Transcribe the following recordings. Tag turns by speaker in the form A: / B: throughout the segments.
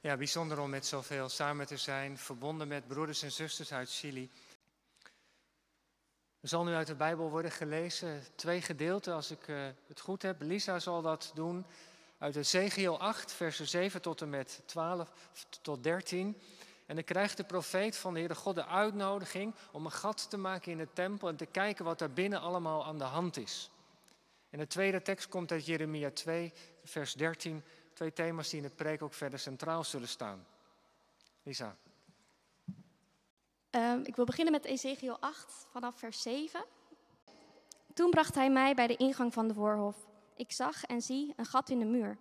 A: Ja, bijzonder om met zoveel samen te zijn, verbonden met broeders en zusters uit Chili. Er zal nu uit de Bijbel worden gelezen twee gedeelten, als ik uh, het goed heb. Lisa zal dat doen uit Ezekiel 8, versen 7 tot en met 12 tot 13. En dan krijgt de profeet van de Heere God de uitnodiging om een gat te maken in de tempel en te kijken wat daar binnen allemaal aan de hand is. En de tweede tekst komt uit Jeremia 2, vers 13. Twee thema's die in de preek ook verder centraal zullen staan. Lisa.
B: Um, ik wil beginnen met Ezekiel 8 vanaf vers 7. Toen bracht hij mij bij de ingang van de voorhof. Ik zag en zie een gat in de muur.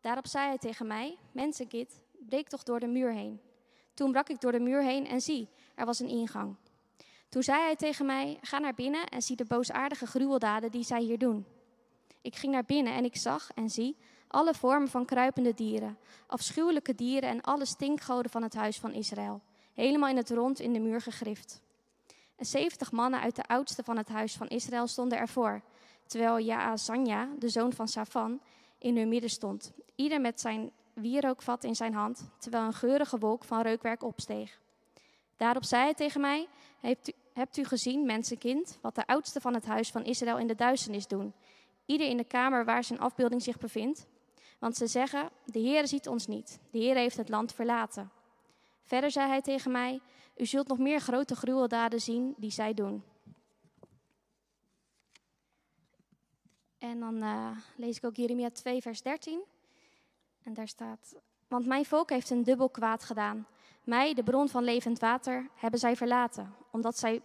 B: Daarop zei hij tegen mij: Mensenkind, breek toch door de muur heen. Toen brak ik door de muur heen en zie, er was een ingang. Toen zei hij tegen mij: Ga naar binnen en zie de boosaardige gruweldaden die zij hier doen. Ik ging naar binnen en ik zag en zie alle vormen van kruipende dieren, afschuwelijke dieren en alle stinkgoden van het huis van Israël, helemaal in het rond in de muur gegrift. En zeventig mannen uit de oudste van het huis van Israël stonden ervoor, terwijl Jaazanja, de zoon van Safan, in hun midden stond, ieder met zijn wierookvat in zijn hand, terwijl een geurige wolk van reukwerk opsteeg. Daarop zei hij tegen mij: Hebt u, hebt u gezien, mensenkind, wat de oudste van het huis van Israël in de duisternis doen? Ieder in de kamer waar zijn afbeelding zich bevindt. Want ze zeggen: De Heer ziet ons niet, de Heer heeft het land verlaten. Verder zei hij tegen mij: U zult nog meer grote gruweldaden zien die zij doen. En dan uh, lees ik ook Jeremia 2, vers 13. En daar staat: Want mijn volk heeft een dubbel kwaad gedaan. Mij, de bron van levend water, hebben zij verlaten, omdat, zij,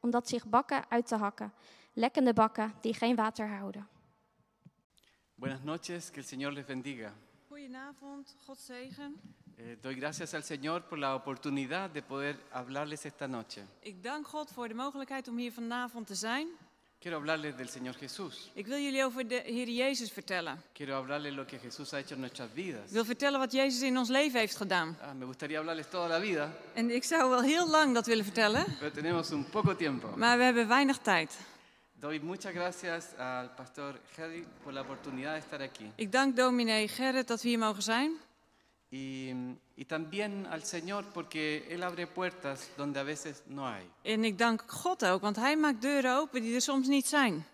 B: omdat zich bakken uit te hakken, lekkende bakken die geen water houden.
C: Buenas noches, que el Señor les bendiga.
D: Goedenavond, God zegen.
C: Eh, doy gracias al Señor por la oportunidad de poder hablarles esta noche.
D: Ik dank God voor de mogelijkheid om hier vanavond te zijn.
C: Quiero hablarles del Señor Jesús.
D: Ik wil jullie over de Heer Jezus vertellen.
C: Quiero hablarles lo que Jesús ha hecho en nuestras vidas.
D: Ik wil vertellen wat Jezus in ons leven heeft gedaan.
C: Ah, me gustaría hablarles toda la vida.
D: En ik zou wel heel lang dat willen vertellen.
C: Pero tenemos un poco tiempo.
D: Maar we hebben weinig tijd.
C: Doy muchas gracias al pastor Gerrit por la oportunidad de estar aquí.
D: Ik dank dominee Gerrit dat we hier mogen zijn.
C: Y, y también al Señor porque Él abre puertas donde a veces no hay.
D: En ik dank God ook, want Hij maakt deuren open die er soms niet zijn.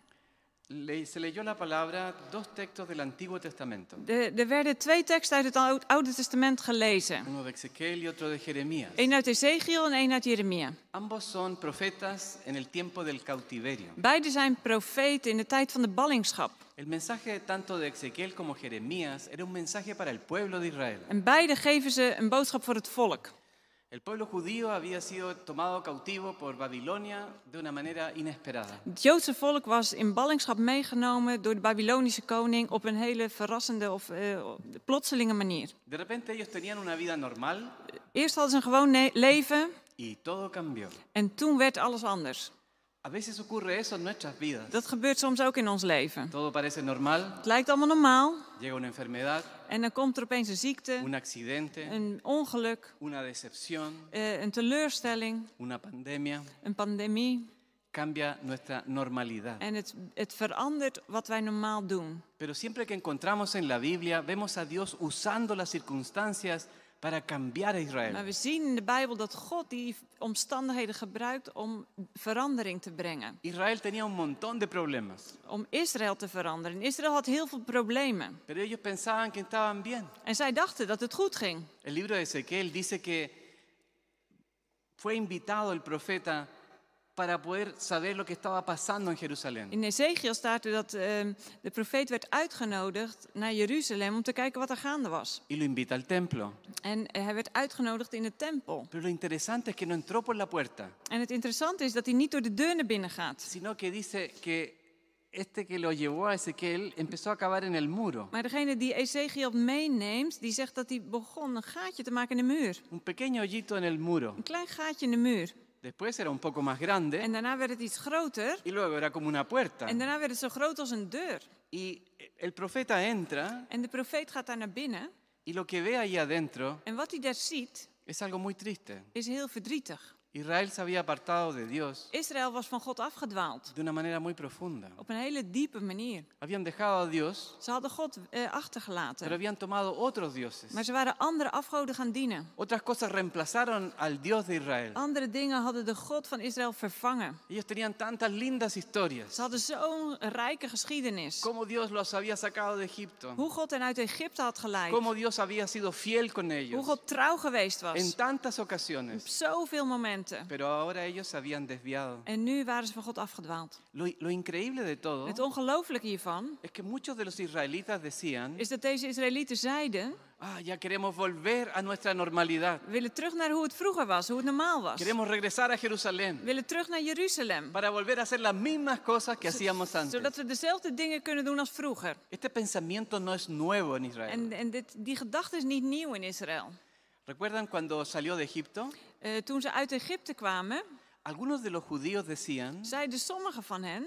C: Le, se leyó la palabra dos textos del Antiguo Testamento.
D: De, er werden twee teksten uit het Oude, Oude Testament gelezen.
C: Uno de Ezequiel y otro de Jeremías.
D: Eén uit Ezekiel en één uit Jeremia.
C: Ambos son profetas en el tiempo del cautiverio.
D: Beide zijn profeten in de tijd van de ballingschap.
C: El mensaje tanto de Ezequiel como Jeremías era un mensaje para el pueblo de Israel.
D: En beide geven ze een boodschap voor het volk.
C: El pueblo judío había sido tomado cautivo por Babilonia de una manera inesperada.
D: Het Joodse volk was in ballingschap meegenomen door de Babylonische koning op een hele verrassende of uh, plotselinge manier.
C: De repente ellos tenían una vida normal.
D: Eerst hadden ze een gewoon leven.
C: Y todo cambió.
D: En toen werd alles anders.
C: A veces ocurre eso en nuestras vidas.
D: Dat gebeurt soms ook in ons leven.
C: Todo parece normal.
D: Het lijkt allemaal normaal.
C: Llega una enfermedad.
D: En dan komt er opeens een ziekte.
C: Un accidente.
D: Een ongeluk.
C: Una decepción.
D: Uh, een teleurstelling.
C: Una pandemia.
D: Een pandemie.
C: Cambia nuestra normalidad.
D: En het, het verandert wat wij normaal doen.
C: Pero siempre que encontramos en la Biblia vemos a Dios usando las circunstancias para cambiar a Israel.
D: Maar we zien in de Bijbel dat God die omstandigheden gebruikt om verandering te brengen.
C: Israel tenía un montón de problemas.
D: Om Israël te veranderen. Israël had heel veel problemen.
C: Pero ellos pensaban que estaban bien.
D: En zij dachten dat het goed ging.
C: El libro de Ezequiel dice que fue invitado el profeta para poder saber lo que estaba pasando en Jerusalén.
D: In Ezekiel staat er dat uh, de profeet werd uitgenodigd naar Jeruzalem om te kijken wat er gaande was.
C: Y lo invita al templo.
D: En eh, hij werd uitgenodigd in de tempel.
C: Pero lo interesante es que no entró por la puerta.
D: En het interessante is dat hij niet door de deur naar binnen gaat.
C: Sino que dice que este que lo llevó a Ezequiel empezó a cavar en el muro.
D: Maar degene die Ezekiel meeneemt, die zegt dat hij begon een gaatje te maken in de muur.
C: Un pequeño hoyito en el muro.
D: Een klein gaatje in de muur.
C: Después era un poco más grande.
D: En daarna werd het iets groter.
C: Y luego era como una puerta.
D: En daarna werd het zo groot als een deur.
C: Y el profeta entra.
D: En de profeet gaat daar naar binnen.
C: Y lo que ve ahí adentro.
D: En wat hij daar ziet.
C: Es algo muy triste.
D: Is heel verdrietig.
C: Israel se había apartado de Dios
D: Israël was van God afgedwaald.
C: de una manera muy profunda.
D: Op een hele diepe manier.
C: Habían dejado a Dios,
D: Ze hadden God eh,
C: pero
D: achtergelaten.
C: habían tomado otros dioses.
D: Maar ze waren andere afgoden gaan dienen.
C: Otras cosas reemplazaron al Dios de Israel.
D: Andere dingen hadden de God van Israël vervangen.
C: Ellos tenían tantas lindas
D: Ze
C: historias.
D: hadden zo'n rijke geschiedenis.
C: Cómo Dios los había sacado de Egipto.
D: Hoe God hen uit Egypte had geleid.
C: Cómo Dios había sido fiel con
D: Hoe
C: ellos
D: God trouw geweest
C: en
D: was.
C: tantas
D: Op
C: ocasiones.
D: zoveel momenten.
C: Pero ahora ellos se habían desviado.
D: En nu waren ze van God afgedwaald.
C: Lo, lo increíble de todo
D: Het ongelooflijke hiervan
C: es que muchos de los israelitas decían,
D: is dat deze Israëlieten zeiden...
C: ah, ya queremos volver a nuestra normalidad.
D: We willen terug naar hoe het vroeger was, hoe het normaal was. We
C: Queremos regresar a Jerusalén
D: willen terug naar Jeruzalem.
C: para volver a hacer las mismas cosas que hacíamos
D: Zodat
C: antes.
D: we dezelfde dingen kunnen doen als vroeger.
C: Este pensamiento no es nuevo en
D: En,
C: Israel.
D: en dit, die gedachte is niet nieuw in Israël.
C: ¿Recuerdan cuando salió de Egipto?
D: Eh, toen ze uit Egypte kwamen,
C: Algunos de los judíos decían,
D: zeiden sommigen van hen...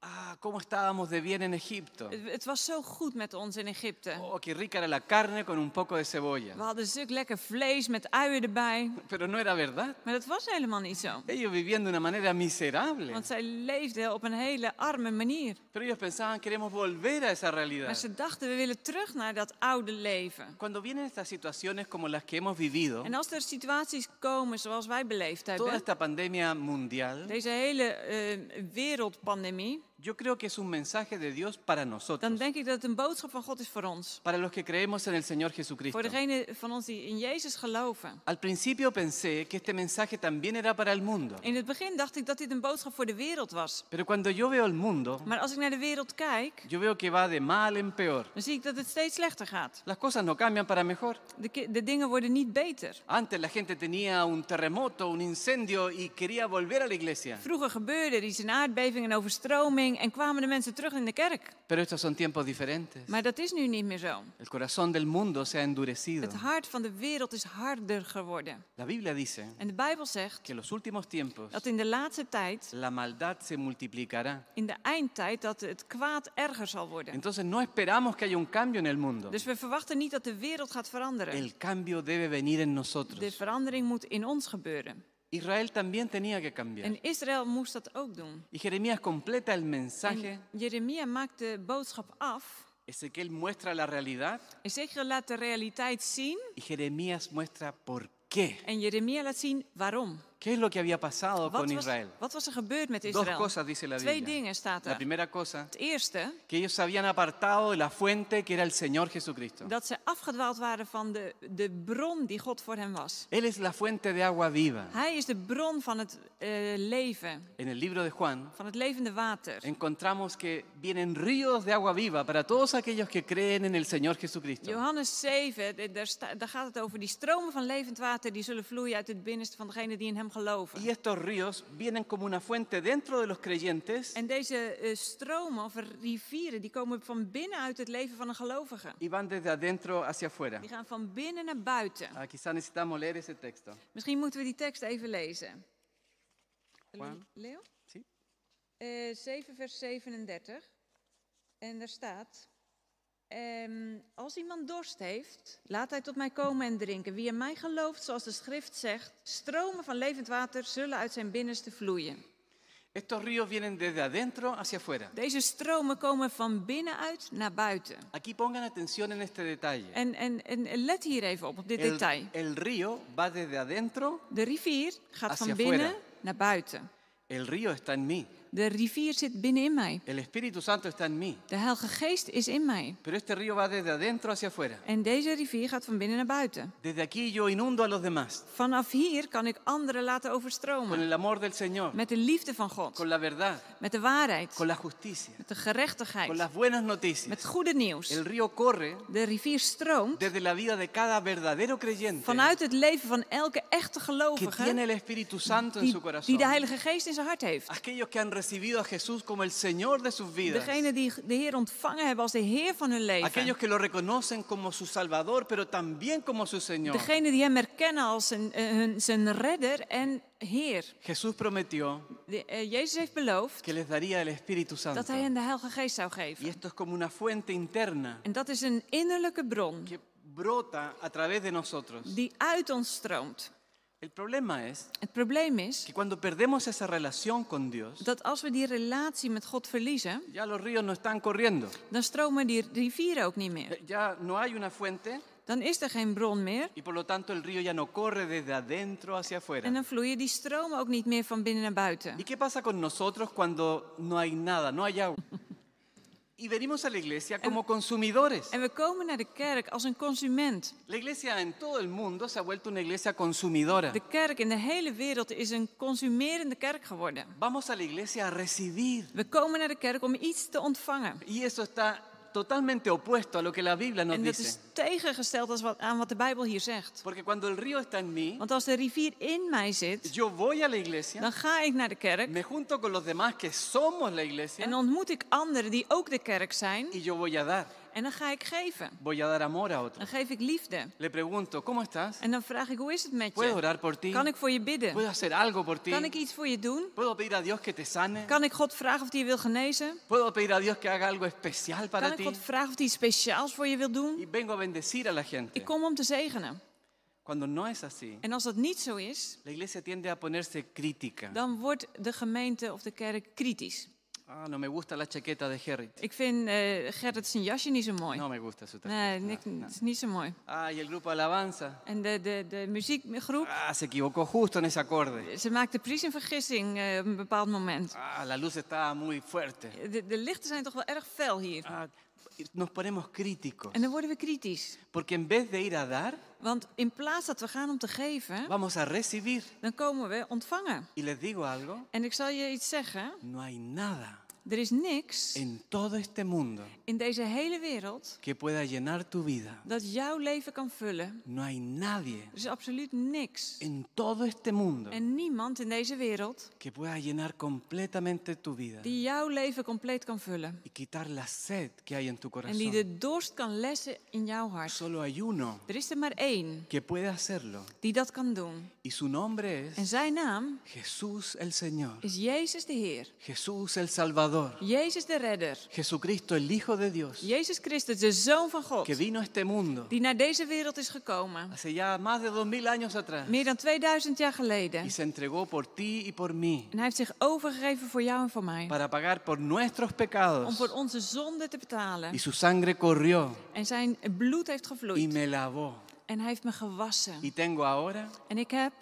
C: ah, ¿cómo estábamos de bien en Egipto?
D: Het, het was zo goed met ons in Egypte.
C: Oh, qué rica era la carne con un poco de cebolla.
D: We hadden stuk lekker vlees met uien erbij.
C: Pero no era verdad.
D: Maar dat was helemaal niet zo.
C: Ellos vivían de una manera miserable.
D: Want zij leefden op een hele arme manier.
C: Pero ellos pensaban, queremos volver a esa
D: Maar
C: realidad.
D: ze dachten, we willen terug naar dat oude leven.
C: Cuando vienen estas situaciones como las que hemos vivido,
D: En als er situaties komen zoals wij beleefd
C: toda
D: hebben,
C: esta pandemia mundial,
D: deze hele eh, wereldpandemie,
C: yo creo que es un mensaje de Dios para
D: dan
C: nosotros,
D: denk ik dat het een boodschap van God is voor ons.
C: para los que creemos en el Señor
D: Voor
C: Jesucristo.
D: degenen van ons die in Jezus geloven.
C: Al principio pensé que este mensaje también era para el mundo,
D: In het begin dacht ik dat dit een boodschap voor de wereld was.
C: pero cuando yo veo el mundo,
D: Maar als ik naar de wereld kijk,
C: yo veo que va de mal en peor.
D: dan zie ik dat het steeds slechter gaat.
C: Las cosas no cambian para mejor.
D: De, ki- de dingen worden niet beter.
C: Antes la gente tenía un terremoto, un incendio y quería volver a la iglesia.
D: Vroeger gebeurde er iets, een aardbeving, een overstroming en kwamen de mensen terug in de kerk.
C: Pero estos son tiempos diferentes.
D: Maar dat is nu niet meer zo.
C: El corazón del mundo se ha endurecido.
D: Het hart van de wereld is harder geworden.
C: La Biblia dice
D: En de Bijbel zegt
C: que en los últimos tiempos
D: dat in de laatste tijd,
C: la maldad se multiplicará.
D: in de eindtijd, dat het kwaad erger zal worden.
C: Entonces no esperamos que haya un cambio en el mundo.
D: Dus we verwachten niet dat de wereld gaat veranderen.
C: El cambio debe venir en
D: De
C: nosotros.
D: verandering moet in ons gebeuren.
C: Israel también tenía que cambiar.
D: En Israël moest dat ook doen.
C: Y Jeremías completa el mensaje.
D: En Jeremia maakt de boodschap af.
C: Ezequiel muestra la realidad
D: Ezekiel laat de realiteit zien.
C: y Jeremías muestra por qué.
D: En Jeremia laat zien waarom.
C: ¿Qué es lo que había pasado
D: Wat
C: con
D: was,
C: Israel?
D: wat was er gebeurd met
C: Dos
D: Israël?
C: cosas dice la
D: Twee
C: Biblia.
D: dingen staat
C: La
D: er.
C: primera cosa,
D: Het eerste,
C: que ellos se habían apartado de la fuente que era el Señor Jesucristo.
D: dat ze afgedwaald waren van de, de bron die God voor hen was.
C: Él es la fuente de agua viva.
D: Hij is de bron van het eh, leven,
C: En el libro de Juan
D: van het levende water.
C: encontramos que vienen ríos de agua viva para todos aquellos que creen en el Señor Jesucristo.
D: Johannes 7, d- daar, sta- daar gaat het over die stromen van levend water die zullen vloeien uit het binnenste van degenen die in hem geloven.
C: Y estos ríos vienen como una fuente dentro de los creyentes
D: En deze eh, stromen of rivieren die komen van binnen uit het leven van een gelovige.
C: y van desde adentro hacia afuera.
D: Die gaan van binnen naar buiten.
C: Ah, quizá necesitamos leer ese texto.
D: Misschien moeten we die tekst even lezen.
C: Juan?
D: Leo?
C: Sí.
D: Eh, 7 vers 37. En daar staat... ehm, als iemand dorst heeft, laat hij tot mij komen en drinken. Wie in mij gelooft, zoals de schrift zegt, stromen van levend water zullen uit zijn binnenste vloeien.
C: Estos ríos vienen desde adentro hacia afuera.
D: Deze stromen komen van binnenuit naar buiten.
C: Aquí pongan atención en este detalle.
D: En, este en, en let hier even op, op dit
C: El,
D: detail.
C: el río va desde adentro,
D: De rivier gaat
C: Hacia
D: van binnen
C: afuera.
D: naar buiten.
C: el río está en mí,
D: De rivier zit binnenin mij.
C: el Espíritu Santo está en mí,
D: De Heilige Geest is in mij.
C: pero este río va desde adentro hacia afuera.
D: En deze rivier gaat van binnen naar buiten.
C: Desde aquí yo inundo a los demás
D: Vanaf hier kan ik anderen laten
C: con
D: overstromen.
C: el amor del Señor,
D: Met de liefde van God.
C: con la verdad,
D: Met de waarheid.
C: con la justicia,
D: Met de
C: con
D: gerechtigheid.
C: las buenas
D: Met
C: noticias.
D: goede nieuws.
C: El río corre
D: De rivier stroomt
C: desde la vida de cada verdadero creyente
D: vanuit het leven van elke echte
C: que tiene
D: gelovige.
C: el Espíritu Santo en
D: Die,
C: su
D: die
C: corazón.
D: de Heilige Geest in zijn hart heeft.
C: Aquellos que han recibido a Jesús como el Señor de sus vidas.
D: Degenen die de Heer ontvangen hebben als de Heer van hun leven.
C: Aquellos que lo reconocen como su Salvador, pero también como su Señor.
D: Degenen die hem herkennen als zijn, eh, hun, zijn redder en Heer.
C: Jesús prometió
D: De- eh, Jezus heeft beloofd
C: que les daría el Espíritu Santo.
D: dat hij hen de Heilige Geest zou
C: Y
D: geven.
C: esto es como una fuente interna
D: En dat is een innerlijke bron
C: que brota a través de nosotros.
D: die uit ons stroomt.
C: El problema es
D: Het probleem is
C: que cuando perdemos esa relación con Dios,
D: dat als we die relatie met God verliezen,
C: ya los ríos no están corriendo.
D: dan stromen die rivieren ook niet meer.
C: Ya- Ya no hay una fuente
D: Dan is er geen bron meer
C: y por lo tanto el río ya no corre desde adentro hacia afuera.
D: en dan vloeien die stromen ook niet meer van binnen naar buiten.
C: ¿Y qué pasa con nosotros cuando no hay nada, no hay agua? Y venimos a la iglesia como consumidores.
D: En we komen naar de kerk als een consument.
C: La iglesia en todo el mundo se ha vuelto una iglesia consumidora.
D: De kerk in de hele wereld is een consumerende kerk geworden.
C: Vamos a la iglesia a recibir.
D: We komen naar de kerk om iets te ontvangen.
C: Y eso está totalmente opuesto a lo que la Biblia nos
D: En dat is
C: dice.
D: tegengesteld als wat, aan wat de Bijbel hier zegt.
C: Porque cuando el río está en mí,
D: Want als de rivier in mij zit,
C: yo voy a la iglesia,
D: dan ga ik naar de kerk
C: me junto con los demás que somos la iglesia
D: en ontmoet ik anderen die ook de kerk zijn.
C: y yo voy a dar.
D: En dan ga ik geven.
C: Voy a dar amor a
D: Dan
C: otros.
D: geef ik liefde.
C: Le pregunto, ¿cómo estás?
D: En dan vraag ik, hoe is het met
C: ¿Puedo
D: je?
C: orar por ti?
D: Kan ik voor je bidden?
C: ¿Puedo hacer algo por ti?
D: Kan ik iets voor je doen?
C: ¿Puedo pedir a Dios que te sane?
D: Kan ik God vragen of hij je wil genezen?
C: ¿Puedo pedir a Dios que haga algo especial
D: Kan
C: para
D: ik
C: ti?
D: God vragen of hij iets speciaals voor je wil doen?
C: Y vengo a bendecir a la gente.
D: Ik kom om te zegenen.
C: Cuando no es así,
D: En als dat niet zo is,
C: la iglesia tiende a ponerse crítica.
D: dan wordt de gemeente of de kerk kritisch.
C: Ah, no me gusta la chaqueta de Harry.
D: Ik vind eh Gerrit zijn jasje niet zo mooi.
C: No me gusta su
D: Nee,
C: tarjeta.
D: niks,
C: no, no.
D: het Nou, is niet zo mooi.
C: Ah, y el grupo Alabanza.
D: En de, de, de muziekgroep,
C: Ah, se equivocó justo en ese acorde.
D: ze maakte precies een vergissing eh, op een bepaald moment.
C: Ah, la luz estaba muy fuerte.
D: De, de lichten zijn toch wel erg fel hier.
C: Ah, nos ponemos críticos.
D: En dan worden we kritisch.
C: Porque en vez de ir a dar,
D: Want in plaats dat we gaan om te geven,
C: vamos a recibir.
D: dan komen we ontvangen.
C: Y les digo algo,
D: En ik zal je iets zeggen.
C: no hay nada
D: Er is niks
C: en todo este mundo
D: in deze hele wereld
C: que pueda llenar tu vida.
D: dat jouw leven kan vullen.
C: No hay nadie
D: Er is absoluut niks.
C: en todo este mundo
D: En niemand in deze wereld
C: que pueda llenar completamente tu vida
D: die jouw leven compleet kan vullen.
C: y quitar la sed que hay en tu
D: En
C: corazón.
D: die de dorst kan lessen in jouw hart.
C: Solo hay uno
D: Er is er maar één
C: que puede hacerlo
D: die dat kan doen.
C: y su nombre
D: En
C: es
D: zijn naam
C: Jesús el Señor,
D: is Jezus de Heer.
C: Jesús el Salvador,
D: Jezus de Redder.
C: Jesucristo el Hijo de Dios
D: Jezus Christus, de Zoon van God.
C: que vino a este mundo
D: Die naar deze wereld is gekomen.
C: hace ya más de dos mil años atrás
D: Meer dan 2000 jaar
C: y
D: geleden.
C: se entregó por ti y por mí
D: En hij heeft zich overgegeven voor jou en voor mij.
C: para pagar por nuestros
D: Om
C: pecados
D: voor onze zonde te
C: y
D: betalen.
C: su sangre corrió
D: En zijn bloed heeft
C: y
D: gevloeid.
C: me lavó
D: En hij heeft me gewassen.
C: y tengo ahora
D: En ik heb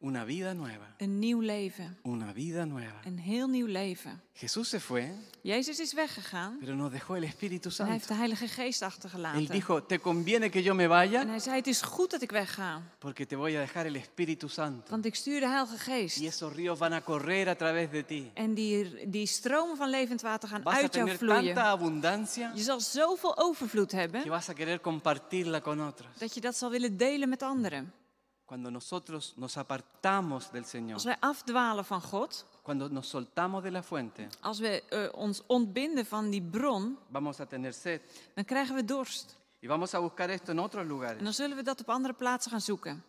C: una vida nueva.
D: een nieuw leven.
C: una vida nueva.
D: Een heel nieuw leven.
C: Jesús se fue,
D: Jezus is weggegaan.
C: pero nos dejó el Espíritu
D: En hij heeft de
C: Santo.
D: Heilige Geest
C: Él
D: achtergelaten.
C: dijo, te conviene que yo me
D: En
C: vaya
D: hij zei, het is goed dat ik wegga.
C: porque te voy a dejar el Espíritu Santo.
D: Want ik stuur de Heilige Geest.
C: Y esos ríos van a correr a través de ti.
D: En die, die stromen van levend water gaan
C: Vas a
D: uit jou
C: tener
D: vloeien.
C: tanta abundancia
D: Je zal zoveel overvloed
C: que
D: hebben
C: vas a querer compartirla con otros.
D: dat je dat zal willen delen met anderen.
C: Cuando nosotros nos apartamos del Señor,
D: Als wij afdwalen van God,
C: cuando nos soltamos de la fuente,
D: als we eh, ons ontbinden van die bron,
C: vamos a tener sed.
D: dan krijgen we dorst.
C: Y vamos a buscar esto en otros
D: En dan
C: lugares.
D: zullen we dat op andere plaatsen gaan zoeken.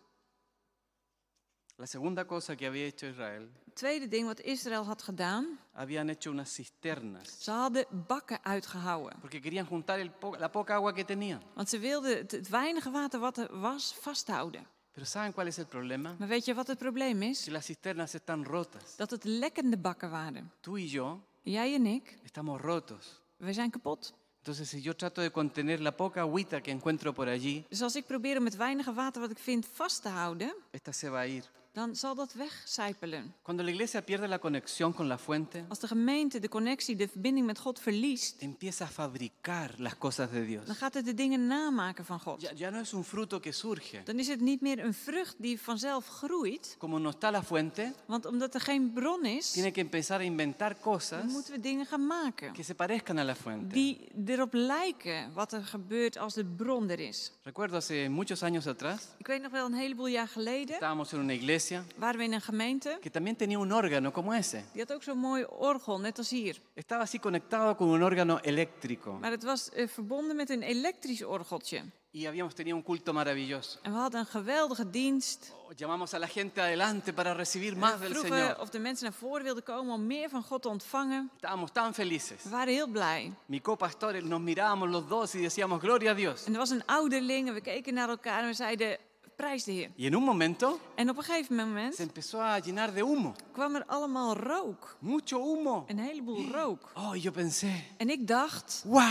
C: La segunda cosa que había hecho Israel,
D: Het tweede ding wat Israël had gedaan,
C: habían hecho unas cisternas
D: ze hadden bakken uitgehouden.
C: porque querían juntar el po- la poca agua que tenían.
D: Want ze wilden het, het weinige water wat er was vasthouden.
C: Pero ¿saben cuál es el problema?
D: Maar weet je wat het probleem
C: Si
D: is?
C: las cisternas están rotas,
D: Dat het lekkende bakken waren.
C: tú y yo
D: Jij en ik,
C: estamos rotos.
D: wij zijn kapot.
C: Entonces, si yo trato de contener la poca agüita que encuentro por allí,
D: Dus als ik probeer om het weinige water wat ik vind vast te houden,
C: esta se va a ir.
D: dan zal dat wegcijpelen.
C: Cuando la iglesia pierde la conexión con la fuente,
D: Als de gemeente de connectie, de verbinding met God verliest,
C: empieza a fabricar las cosas de Dios.
D: dan gaat het de dingen namaken van
C: Ya,
D: God.
C: ya no es un fruto que surge.
D: Dan is het niet meer een vrucht die vanzelf groeit,
C: Como no está la fuente,
D: want omdat er geen bron is,
C: tiene que empezar a inventar
D: dan
C: cosas
D: moeten we dingen gaan maken
C: que se parezcan a la fuente.
D: die erop lijken wat er gebeurt als de bron er is.
C: Recuerdo hace muchos años atrás,
D: Ik weet nog wel een heleboel jaar geleden
C: estábamos en una iglesia
D: waren we in een gemeente
C: que también tenía un órgano como ese.
D: die had ook zo'n mooi orgel, net als hier.
C: Estaba así conectado con un órgano eléctrico
D: Maar het was eh, verbonden met een elektrisch orgeltje.
C: y habíamos tenido un culto maravilloso.
D: En we hadden een geweldige dienst.
C: Oh, Llamamos a la gente adelante para recibir
D: We
C: más del
D: vroegen
C: Señor.
D: of de mensen naar voren wilden komen om meer van God te ontvangen.
C: Estábamos tan felices.
D: We waren heel blij.
C: Mi copastor, nos mirábamos los dos y decíamos, gloria a Dios.
D: En er was een ouderling en we keken naar elkaar en we zeiden... Prijs de Heer.
C: Y en un momento
D: En op een gegeven moment
C: se empezó a llenar de humo,
D: kwam er allemaal rook.
C: mucho humo.
D: Een heleboel rook.
C: Oh, y yo pensé,
D: En ik dacht,
C: wow,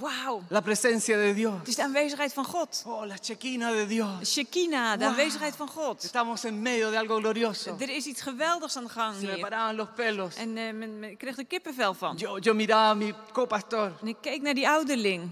D: wauw,
C: la presencia de Dios.
D: het is de aanwezigheid van God.
C: Oh, la chequina de Dios.
D: Shekinah, de
C: Wauw.
D: aanwezigheid van God.
C: Estamos en medio de algo glorioso.
D: Er is iets geweldigs aan de gang
C: Se me
D: hier.
C: paraban los pelos.
D: En eh, men- men- ik kreeg er kippenvel van.
C: Yo, yo miraba a mi copastor.
D: En ik keek naar die ouderling.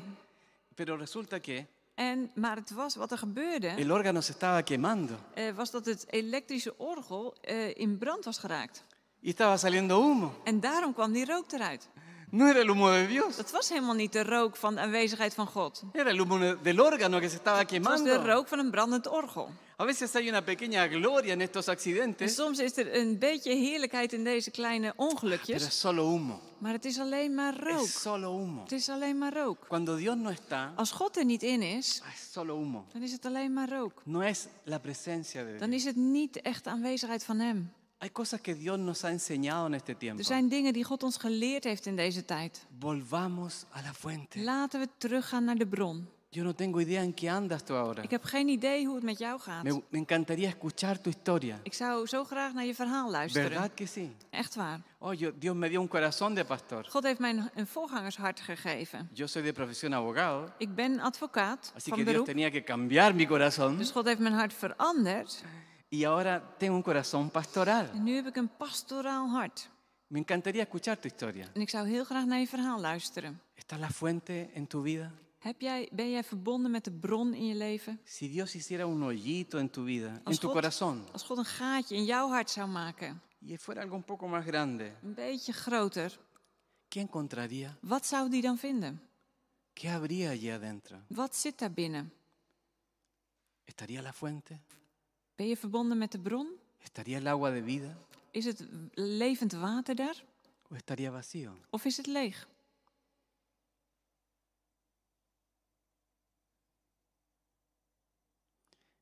C: Pero resulta que
D: En, maar het was, wat er gebeurde,
C: el órgano se estaba quemando
D: eh, was dat het elektrische orgel eh, in brand was geraakt.
C: y estaba saliendo humo.
D: En daarom kwam die rook eruit.
C: No era el humo de Dios,
D: Dat was helemaal niet de rook van de aanwezigheid van God.
C: era el humo del órgano que se estaba
D: Het was de
C: quemando.
D: rook van een brandend orgel.
C: A veces hay una pequeña gloria en estos
D: En
C: accidentes,
D: Dus soms is er een beetje heerlijkheid in deze kleine
C: pero es
D: ongelukjes.
C: solo humo.
D: Maar Ah, het is alleen maar rook.
C: Es solo humo.
D: Het is alleen maar rook.
C: Cuando Dios no está, ah,
D: Als God er niet in is,
C: es solo humo.
D: dan is het alleen maar rook.
C: No es la presencia de
D: Dan
C: Dios.
D: is het niet echt de aanwezigheid van Hem.
C: Hay cosas que Dios nos ha enseñado en este tiempo.
D: Er zijn dingen die God ons geleerd heeft in deze tijd.
C: Volvamos a la fuente.
D: Laten we teruggaan naar de bron.
C: Yo no tengo idea en qué andas tú ahora.
D: Ik heb geen idee hoe het met jou gaat.
C: Me, me encantaría escuchar tu historia.
D: Ik zou zo graag naar je verhaal luisteren.
C: ¿Verdad que sí?
D: Echt waar.
C: Oh, yo- Dios me dio un corazón de pastor.
D: God heeft mij een- een voorgangershart gegeven.
C: Yo soy de profesión abogado,
D: Ik ben advocaat
C: así que
D: van
C: Dios
D: beroep.
C: tenía que cambiar mi corazón
D: Dus God heeft mijn hart veranderd.
C: y ahora tengo un corazón pastoral.
D: En nu heb ik een pastoraal hart.
C: Me encantaría escuchar tu historia.
D: En ik zou heel graag naar je verhaal luisteren.
C: ¿Está la fuente en tu vida?
D: Heb jij, ben jij verbonden met de bron in je leven?
C: Si Dios hiciera un hoyito en tu vida, en
D: Als
C: tu
D: God-
C: corazón,
D: Als God een gaatje in jouw hart zou maken,
C: y fuera algo un poco más grande,
D: een beetje groter,
C: ¿qué encontraría?
D: wat zou die dan vinden?
C: ¿Qué habría allí adentro?
D: Wat zit daar binnen?
C: ¿Estaría la fuente?
D: Ben je verbonden met de bron?
C: ¿Estaría el agua de vida?
D: Is het levend water daar?
C: ¿O estaría vacío?
D: Of is het leeg?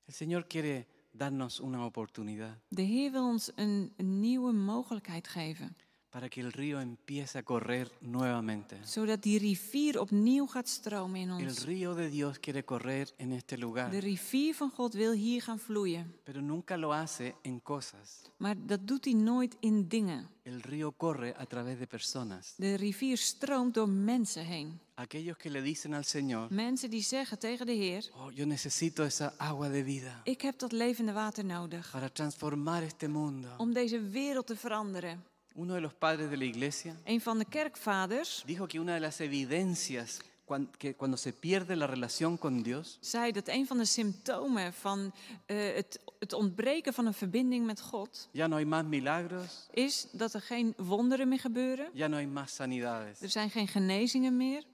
C: El Señor quiere darnos una oportunidad
D: De Heer wil ons een, een nieuwe mogelijkheid geven,
C: para que el río empiece a correr nuevamente.
D: zodat die rivier opnieuw gaat stromen in
C: El
D: ons.
C: río de Dios quiere correr en este lugar,
D: De rivier van God wil hier gaan vloeien,
C: pero nunca lo hace en cosas.
D: maar dat doet hij nooit in dingen.
C: El río corre a través de personas.
D: De rivier stroomt door mensen heen.
C: Aquellos que le dicen al Señor,
D: Mensen die zeggen tegen de Heer:
C: oh, yo necesito esa agua de vida
D: Ik heb dat levende water nodig
C: para transformar este mundo.
D: om deze wereld te veranderen.
C: Uno de los padres de la iglesia
D: Een van de kerkvaders
C: dijo que una de las evidencias cuan- que cuando se pierde la relación con Dios
D: zei dat een van de symptomen van eh, het, het ontbreken van een verbinding met God
C: ya no hay más milagros,
D: is dat er geen wonderen meer gebeuren.
C: ya no hay más sanidades.
D: Er zijn geen genezingen meer.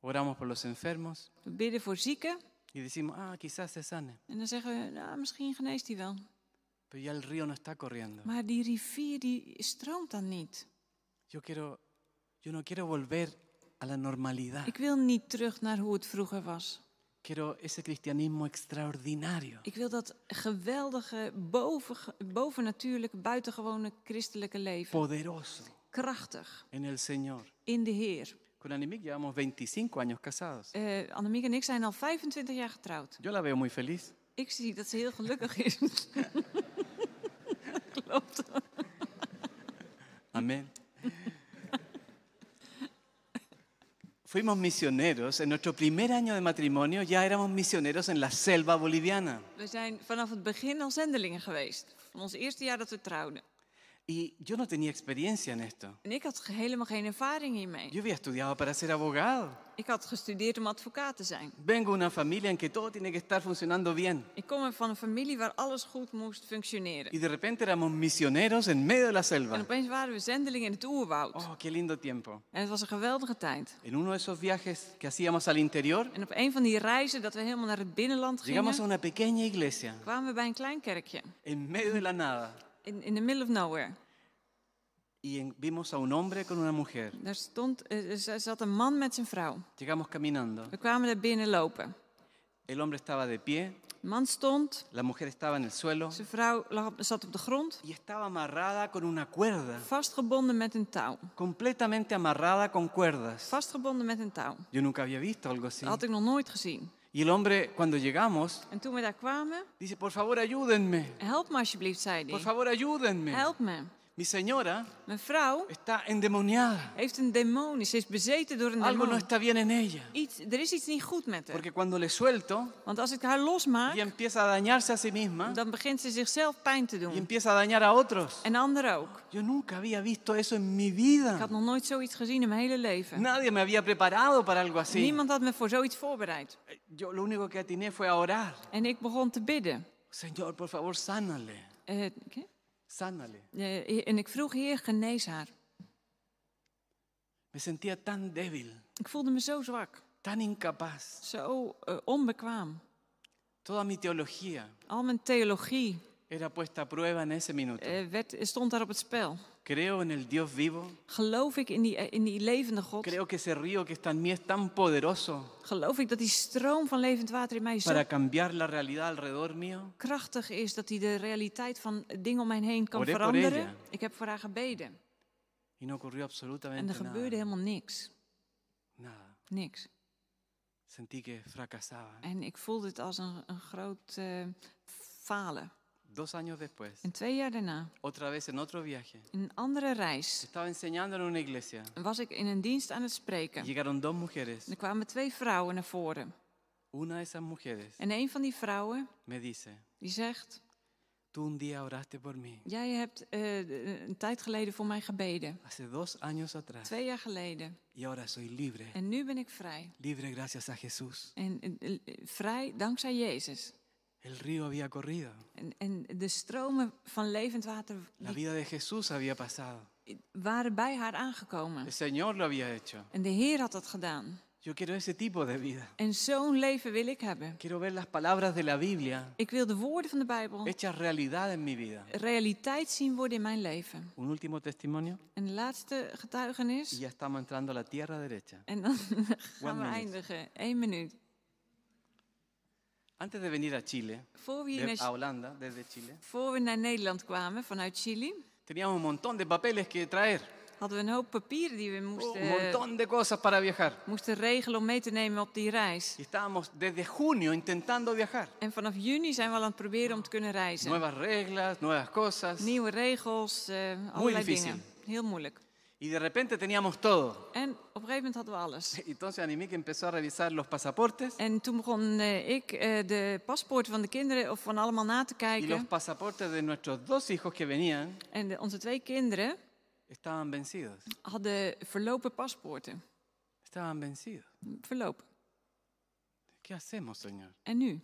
C: Oramos por los enfermos
D: We bidden voor zieken
C: y decimos, ah, quizás se sane,
D: en dan zeggen we: Nou, misschien geneest hij wel.
C: pero ya el río no está corriendo.
D: Maar die rivier die stroomt dan niet.
C: Yo quiero, yo no quiero volver a la normalidad.
D: Ik wil niet terug naar hoe het vroeger was.
C: Quiero ese cristianismo extraordinario.
D: Ik wil dat geweldige, boven, bovennatuurlijke, buitengewone christelijke leven.
C: Poderoso
D: Krachtig
C: en el Señor.
D: in de Heer.
C: Con Animic llevamos 25 años casados.
D: Eh Annemiek en ik zijn al 25 jaar getrouwd.
C: Yo la veo muy feliz.
D: Ik zie dat ze heel gelukkig is. Klopt.
C: Amén. Fuimos misioneros. En nuestro primer año de matrimonio ya éramos misioneros en la selva boliviana.
D: We zijn vanaf het begin al zendelingen geweest. Van ons eerste jaar dat we trouwden.
C: Y yo no tenía experiencia en esto.
D: En ik had ge- helemaal geen ervaring hiermee.
C: Yo había estudiado para ser abogado.
D: Ik had gestudeerd om advocaat te zijn.
C: Vengo de una familia en que todo tiene que estar funcionando bien.
D: Ik kom van een familie waar alles goed moest functioneren.
C: Y de repente éramos misioneros en medio de la
D: En
C: selva.
D: opeens waren we zendelingen in het oerwoud.
C: Oh, qué lindo tiempo.
D: En het was een geweldige tijd.
C: En uno de esos viajes que hacíamos al interior,
D: En op een van die reizen dat we helemaal naar het binnenland
C: llegamos a
D: gingen,
C: una pequeña iglesia
D: kwamen we bij een klein kerkje.
C: en medio de la nada
D: In, in the middle of nowhere.
C: y en- vimos a un hombre con una mujer.
D: Daar stond, eh, eh, z- zat een man met zijn vrouw.
C: Llegamos caminando.
D: We kwamen daar binnen lopen.
C: El hombre estaba de pie,
D: De man stond,
C: la mujer estaba en el suelo
D: zijn vrouw lag op- zat op de grond,
C: y estaba amarrada con una cuerda,
D: vastgebonden met een touw.
C: completamente amarrada con cuerdas.
D: Vastgebonden met een touw.
C: Yo nunca había visto algo así.
D: Ah, Dat had ik nog nooit gezien.
C: Y Y el hombre, cuando llegamos,
D: En toen we daar kwamen,
C: dice, por favor ayúdenme,
D: help me alsjeblieft, zei
C: por
D: hij.
C: favor ayúdenme.
D: Help me.
C: Mi señora
D: Mijn vrouw
C: está endemoniada.
D: heeft een demon, ze is bezeten door een
C: Algo no
D: demon.
C: está bien en ella.
D: Iets, er is iets niet goed met haar.
C: Porque cuando le suelto,
D: Want als ik haar
C: ella
D: losmaak,
C: empieza a dañarse a sí misma
D: dan begint ze zichzelf pijn te
C: y
D: doen.
C: empieza a dañar a otros.
D: En anderen ook.
C: Yo nunca había visto eso en mi
D: Ik
C: vida.
D: had nog nooit zoiets gezien in mijn hele leven.
C: Nadie me había preparado para algo así. Eh,
D: Niemand had me voor zoiets voorbereid.
C: Yo lo único que atiné fue a orar.
D: En ik begon te bidden.
C: Señor, por favor, sánale.
D: Eh, oké?
C: Sánale.
D: Eh, en ik vroeg, Heer, genees haar.
C: Me sentía tan débil,
D: Ik voelde me zo zwak,
C: tan incapaz.
D: zo eh, onbekwaam.
C: Toda mi teología
D: Al mijn theologie
C: era puesta a prueba en ese minuto.
D: eh, werd, stond daar op het spel.
C: Creo en el Dios vivo.
D: Geloof ik in die, eh, in die levende God?
C: Creo que ese río que está en mí es tan poderoso
D: Geloof ik dat die stroom van levend water in mij zo
C: para cambiar la realidad alrededor mío.
D: krachtig is dat hij de realiteit van het ding om mij heen kan
C: Oré por
D: veranderen?
C: ella.
D: Ik heb voor haar gebeden.
C: Y no ocurrió
D: En
C: absolutamente
D: er gebeurde
C: nada.
D: helemaal niks.
C: Nada.
D: Niks.
C: Sentí que fracasaba.
D: En ik voelde het als een, een groot eh, falen.
C: Dos años después,
D: En twee jaar daarna,
C: otra vez en otro viaje,
D: in een andere reis,
C: estaba enseñando en una iglesia.
D: was ik in een dienst aan het
C: Y
D: spreken.
C: Llegaron dos
D: En
C: mujeres.
D: er kwamen twee vrouwen naar voren.
C: Una de esas mujeres
D: En een van die vrouwen
C: me dice,
D: die zegt:
C: tú un día oraste por mí.
D: Jij hebt eh, een tijd geleden voor mij gebeden.
C: Hace dos años atrás.
D: Twee jaar geleden.
C: Y ahora soy libre.
D: En nu ben ik vrij.
C: Libre gracias a Jesús.
D: En eh, eh, vrij dankzij Jezus.
C: El río había corrido.
D: En, en de stromen van levend water
C: La
D: die
C: vida de Jesús había pasado.
D: waren bij haar aangekomen.
C: El Señor lo había hecho.
D: En de Heer had dat gedaan.
C: Yo quiero ese tipo de vida.
D: En zo'n leven wil ik hebben.
C: Quiero ver las palabras de la Biblia
D: Ik wil de woorden van de Bijbel
C: hechas realidad en mi
D: Eh.
C: vida.
D: realiteit zien worden in mijn leven.
C: Un último testimonio
D: En de laatste
C: y
D: getuigenis.
C: ya estamos entrando a la tierra derecha.
D: En dan
C: One
D: gaan we
C: minute.
D: eindigen. Eén minuut.
C: Antes de venir a Chile,
D: Voor we, hier
C: de- a
D: naar,
C: Holanda, desde Chile,
D: voor we naar Nederland kwamen vanuit Chili,
C: teníamos un montón de papeles que traer,
D: hadden we een hoop papieren die we
C: un
D: moesten,
C: montón de cosas para viajar.
D: moesten regelen om mee te nemen op die reis.
C: Y estábamos desde junio intentando viajar.
D: En vanaf juni zijn we al aan het proberen om te kunnen reizen.
C: Nuevas reglas, nuevas cosas.
D: Nieuwe regels, eh allerlei
C: difícil.
D: dingen. Heel moeilijk.
C: Y de repente teníamos todo.
D: En op een gegeven moment hadden we alles.
C: Entonces Animik empezó a revisar los pasaportes
D: En toen begon eh, ik eh, de paspoorten van de kinderen of van allemaal na te
C: y los
D: kijken.
C: pasaportes de nuestros dos hijos que venían
D: En de- onze twee kinderen
C: estaban vencidos.
D: hadden verlopen paspoorten.
C: Estaban vencidos.
D: Verlopen.
C: ¿Qué hacemos, Señor?
D: En nu?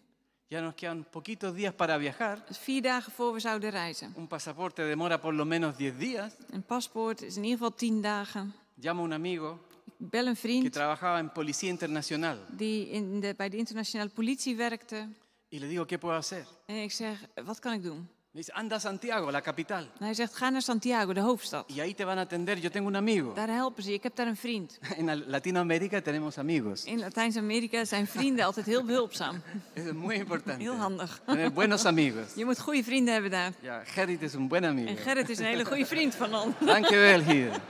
C: Ya nos quedan poquitos días para viajar.
D: Vier dagen voor we zouden reizen.
C: Un pasaporte demora por lo menos 10 días.
D: Een paspoort is in ieder geval tien dagen.
C: Llamo a un amigo
D: Ik bel een
C: que
D: vriend
C: trabajaba en Policía Internacional
D: die in de, bij de internationale politie werkte.
C: y le digo, ¿qué puedo hacer?
D: En ik zeg, wat kan ik doen?
C: Me dice, anda a Santiago, la capital,
D: En hij zegt, ga naar Santiago, de hoofdstad.
C: y ahí te van a atender. Yo tengo un amigo.
D: Daar helpen ze je. Ik heb daar een vriend.
C: En en Latinoamérica tenemos amigos.
D: In Latijns-Amerika zijn vrienden altijd heel behulpzaam.
C: Eso es muy importante.
D: Heel handig.
C: Tener buenos amigos.
D: Je moet goede vrienden hebben daar.
C: Ya, Gerrit es un buen amigo.
D: En Gerrit is een hele goede vriend van ons.
C: Dankjewel, Gerrit.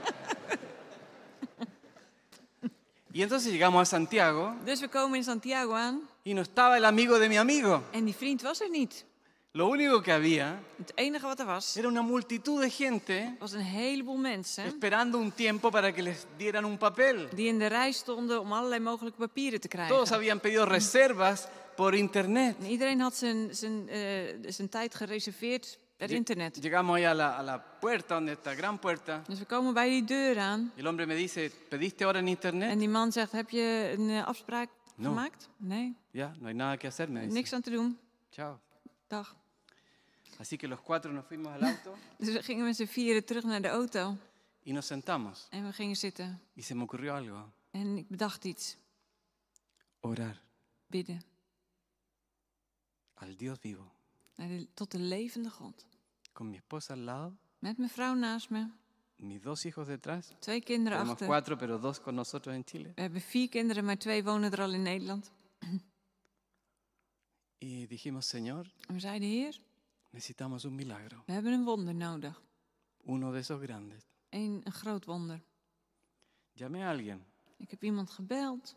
C: Y entonces llegamos a Santiago
D: Dus we komen in Santiago aan
C: y no estaba el amigo de mi amigo.
D: en die vriend was er niet.
C: Lo único que había
D: Het enige wat er was,
C: era una multitud de gente
D: was een heleboel mensen
C: esperando un tiempo para que les dieran un papel.
D: die in de rij stonden om allerlei mogelijke papieren te
C: Todos
D: krijgen.
C: habían pedido reservas por internet.
D: En iedereen had zijn, zijn, eh, zijn tijd gereserveerd per internet.
C: Llegamos ahí a la, a la puerta, donde está, gran puerta.
D: Dus we komen bij die deur aan
C: Y el hombre me dice, ¿pediste ahora en internet?
D: en die man zegt, heb je een eh, afspraak
C: No.
D: gemaakt? Nee,
C: Ya, no hay nada que hacer, me dice.
D: niks aan te doen.
C: Chao.
D: Dag.
C: Así que los cuatro nos fuimos al auto
D: Dus we gingen met z'n vieren terug naar de auto
C: y nos sentamos.
D: en we gingen zitten.
C: Y se me ocurrió algo,
D: En ik bedacht iets,
C: orar
D: bidden,
C: al Dios vivo,
D: naar de- tot de levende God.
C: con mi esposa al lado,
D: Met mijn vrouw naast me,
C: mis dos hijos detrás.
D: twee kinderen
C: Tenemos
D: achter.
C: cuatro, pero dos con nosotros en Chile.
D: We hebben vier kinderen, maar twee wonen er al in Nederland.
C: Y dijimos, Señor,
D: En we zeiden, heer,
C: necesitamos un milagro,
D: we hebben een wonder nodig.
C: uno de esos grandes.
D: Een, een groot wonder.
C: Llamé a alguien,
D: Ik heb iemand gebeld,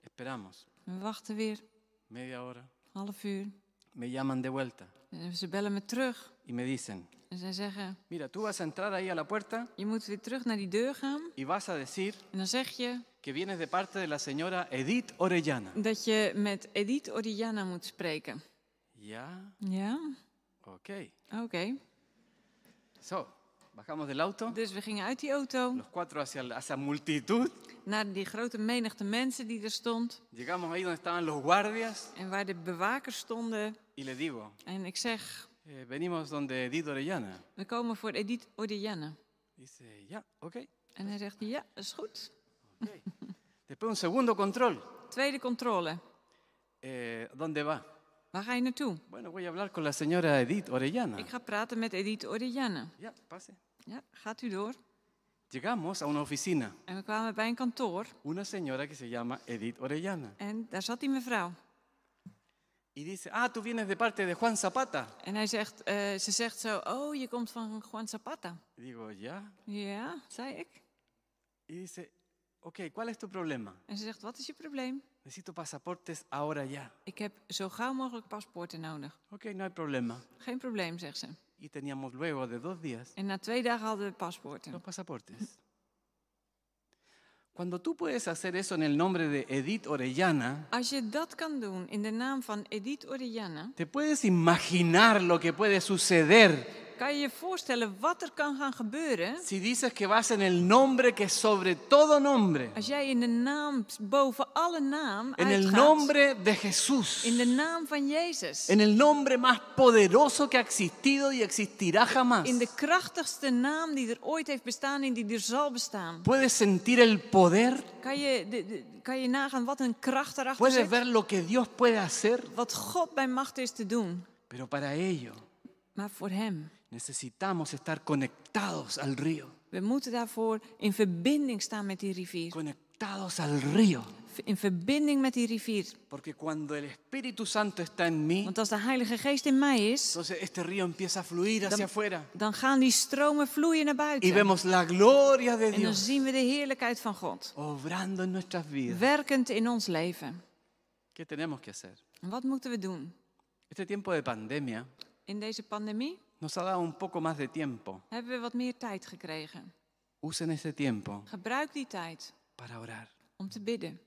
C: esperamos.
D: we wachten weer.
C: media hora,
D: half uur.
C: me llaman de vuelta
D: En ze bellen me terug
C: y me dicen,
D: en zij zeggen:
C: mira, tú vas a entrar ahí a la puerta
D: Je moet weer terug naar die deur gaan.
C: y vas a decir
D: En dan zeg je
C: que vienes de parte de la señora Edith Orellana.
D: dat je met Edith Oriana moet spreken.
C: Ya,
D: Ja,
C: ok.
D: oké.
C: So, bajamos del auto,
D: Dus we gingen uit die auto
C: los cuatro hacia la hacia multitud,
D: naar die grote menigte mensen die er stond.
C: llegamos ahí donde estaban los guardias
D: En waar de bewakers stonden.
C: y le digo,
D: En ik zeg:
C: "Eh, venimos donde Edith Orellana.
D: We komen voor Edith Oriana.
C: Dice, ya, ok.
D: En hij zegt: Ja, is goed.
C: ok. Después un segundo control.
D: Tweede controle.
C: Eh, ¿Dónde va?
D: Waar ga je naartoe?
C: Bueno, voy a hablar con la señora Edith Orellana.
D: Ik ga praten met Edith Oriana.
C: Ya, pase.
D: Ja, gaat u door.
C: Llegamos a una oficina.
D: En we kwamen bij een kantoor.
C: Una señora que se llama Edith Orellana.
D: En daar zat die mevrouw.
C: Y dice, ah, tú vienes de parte de Juan Zapata.
D: En hij zegt, eh, ze zegt zo, oh, je komt van Juan Zapata.
C: Y digo, ya.
D: Ja, zei ik.
C: Y dice, ok, ¿cuál es tu problema?
D: En ze zegt, wat is je probleem?
C: Necesito pasaportes ahora ya.
D: Ik heb zo gauw mogelijk paspoorten nodig.
C: Ok, no hay problema.
D: Geen probleem, zegt ze.
C: Y teníamos luego de dos días
D: En na twee dagen hadden we
C: los
D: paspoorten.
C: pasaportes. Cuando tú puedes hacer eso en el nombre de Edith Orellana,
D: Als je dat kan doen in de naam van Edith Oriana,
C: te puedes imaginar lo que puede suceder
D: kan je je voorstellen wat er kan gaan gebeuren
C: Si dices que vas en el nombre que es sobre todo nombre,
D: als jij in de naam boven alle naam
C: en el
D: uitgaat.
C: nombre de Jesús,
D: In de naam van Jezus.
C: en el nombre más poderoso que ha existido y existirá jamás,
D: In de krachtigste naam die er ooit heeft bestaan en die er zal bestaan.
C: puedes sentir el poder,
D: Kan je, de, de- kan je nagaan wat een kracht erachter
C: puedes
D: zit?
C: ver lo que Dios puede hacer,
D: Wat God bij macht is te doen.
C: pero para ello
D: Maar voor Hem.
C: necesitamos estar conectados al río,
D: We moeten daarvoor in verbinding staan met die rivier.
C: conectados al río,
D: In verbinding met die rivier.
C: porque cuando el Espíritu Santo está en mí,
D: Want als de Heilige Geest in mij is,
C: entonces este río empieza a fluir hacia afuera
D: dan gaan die stromen vloeien naar
C: y
D: buiten.
C: vemos la gloria de
D: En dan
C: Dios
D: zien we de heerlijkheid van God.
C: obrando en nuestras vidas.
D: Werkend in ons leven.
C: ¿Qué tenemos que hacer?
D: En Wat moeten we doen?
C: Este tiempo de pandemia
D: In deze pandemie
C: nos ha dado un poco más de tiempo.
D: hebben we wat meer tijd gekregen.
C: Usen este tiempo
D: Gebruik die tijd
C: para orar.
D: om te bidden.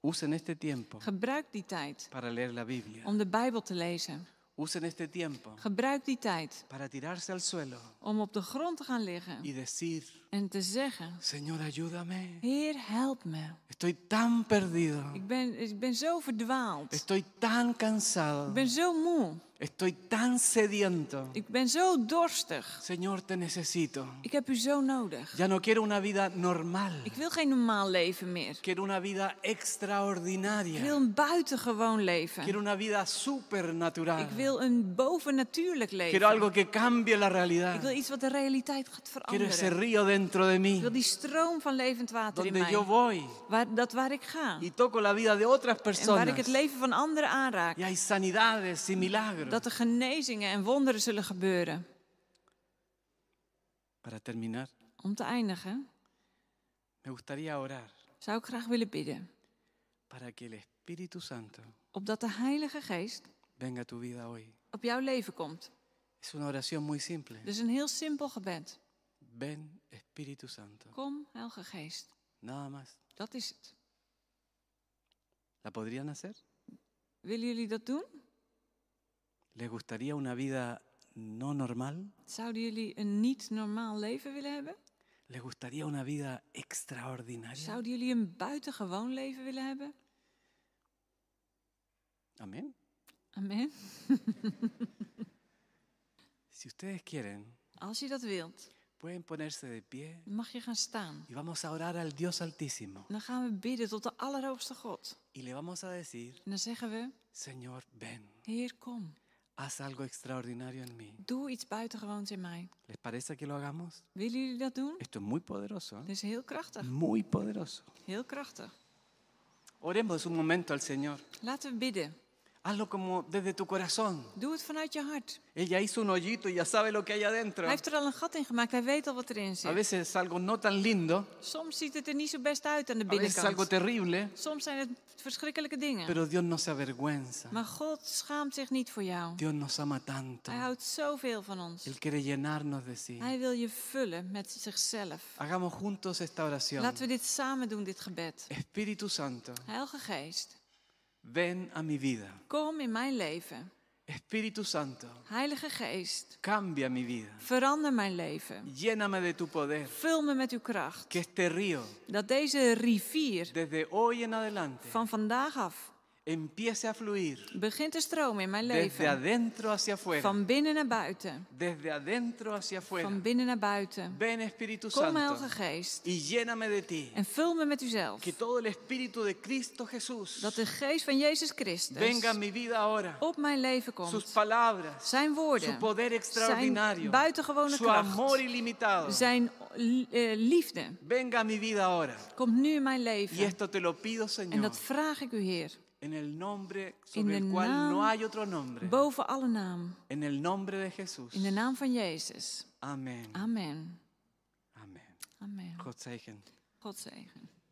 C: Usen este tiempo
D: Gebruik die tijd
C: para leer la Biblia.
D: om de Bijbel te lezen.
C: Usen este tiempo
D: Gebruik die tijd
C: para tirarse al suelo
D: om op de grond te gaan liggen
C: y decir,
D: en te zeggen:
C: Señor, ayúdame.
D: Heer, help me.
C: Estoy tan perdido.
D: Ik ben, ik ben zo verdwaald.
C: Estoy tan
D: Ik
C: cansado.
D: ben zo moe.
C: Estoy tan sediento.
D: Ik ben zo dorstig.
C: Señor, te necesito.
D: Ik heb u zo nodig.
C: Ya no quiero una vida normal.
D: Ik wil geen normaal leven meer.
C: Quiero una vida
D: Ik wil
C: extraordinaria.
D: een buitengewoon leven.
C: Quiero una vida supernatural.
D: Ik wil een bovennatuurlijk
C: Quiero
D: leven.
C: algo que cambie la realidad.
D: Ik wil iets wat de realiteit gaat
C: Quiero ese
D: veranderen.
C: río dentro de
D: Ik
C: mí,
D: wil die stroom van levend water in
C: donde yo
D: mij.
C: voy
D: Waar, dat waar ik ga.
C: y toco la vida de otras
D: En waar ik
C: personas.
D: het leven van anderen aanraak.
C: Y hay sanidades y milagros.
D: dat er genezingen en wonderen zullen gebeuren.
C: Para terminar,
D: Om te eindigen
C: me gustaría orar
D: zou ik graag willen bidden.
C: para que el Espíritu Santo
D: Opdat de Heilige Geest
C: venga a tu vida hoy.
D: op jouw leven komt.
C: Es una oración muy simple.
D: Dus een heel simpel gebed.
C: Ven, Espíritu Santo.
D: Kom, Heilige Geest.
C: Nada más.
D: Dat is het.
C: ¿La podrían hacer?
D: Willen jullie dat doen?
C: ¿Les gustaría una vida no normal?
D: Zouden jullie een niet normaal leven willen hebben?
C: ¿Les gustaría una vida extraordinaria?
D: Zouden jullie een buitengewoon leven willen hebben?
C: Amén.
D: Amen.
C: Si ustedes quieren,
D: Als je dat wilt,
C: pueden ponerse de pie
D: mag je gaan staan.
C: y vamos a orar al Dios Altísimo.
D: Dan gaan we bidden tot de Allerhoogste God.
C: Y le vamos a decir,
D: En dan zeggen we,
C: Señor, ven,
D: Heer, kom.
C: haz algo extraordinario en mí.
D: Doe iets buitengewoons in mij.
C: ¿Les parece que lo hagamos?
D: Willen jullie dat doen?
C: Esto es muy poderoso,
D: Dat
C: ¿eh?
D: is heel krachtig.
C: muy poderoso.
D: Heel krachtig.
C: Oremos un momento al Señor.
D: Laten we bidden.
C: Hazlo como desde tu corazón.
D: Doe het vanuit je hart.
C: Ella hizo un hoyito y ya sabe lo que hay adentro.
D: Hij heeft er al een gat in gemaakt. Hij weet al wat erin
C: A
D: zit.
C: veces es algo no tan lindo,
D: Soms ziet het er niet zo best uit aan de
C: a veces es algo
D: binnenkant.
C: terrible,
D: Soms zijn het verschrikkelijke dingen.
C: pero Dios no se avergüenza.
D: Maar God schaamt zich niet voor jou.
C: Dios nos ama tanto.
D: Hij houdt zoveel van ons.
C: Él quiere llenarnos de sí.
D: Hij wil je vullen met zichzelf.
C: Hagamos juntos esta oración.
D: Laten we dit samen doen, dit gebed.
C: Espíritu Santo,
D: Heilige Geest,
C: ven a mi vida.
D: kom in mijn leven.
C: Espíritu Santo,
D: Heilige Geest,
C: cambia mi vida.
D: verander mijn leven.
C: Lléname de tu poder.
D: Vul me met uw kracht.
C: Que este río,
D: Dat deze rivier
C: desde hoy en adelante,
D: van vandaag af
C: empiece a fluir
D: begint te stromen in mijn
C: desde
D: leven.
C: adentro hacia afuera.
D: Van binnen naar buiten.
C: Desde adentro hacia afuera.
D: Van binnen naar buiten.
C: Ven Espíritu
D: Kom, Heilige
C: Santo
D: Geest,
C: y lléname de ti.
D: en vul me met uzelf.
C: Que todo el Espíritu de Cristo Jesús
D: Dat de geest van Jezus Christus
C: venga a mi vida ahora.
D: op mijn leven
C: Sus
D: komt.
C: palabras,
D: Zijn
C: su
D: woorden,
C: poder extraordinario,
D: zijn buitengewone
C: su amor
D: kracht,
C: ilimitado.
D: zijn li- eh, liefde
C: Venga a mi vida ahora.
D: komt nu in mijn
C: Y
D: leven.
C: esto te lo pido,
D: En
C: Señor,
D: dat vraag ik u, Heer,
C: en el nombre sobre
D: de
C: el cual
D: naam
C: no hay otro nombre.
D: boven alle naam,
C: En el nombre de Jesús.
D: in de naam van Jezus.
C: Amén.
D: Amen.
C: Amén.
D: Amen.
C: God zegen.
D: God zegen.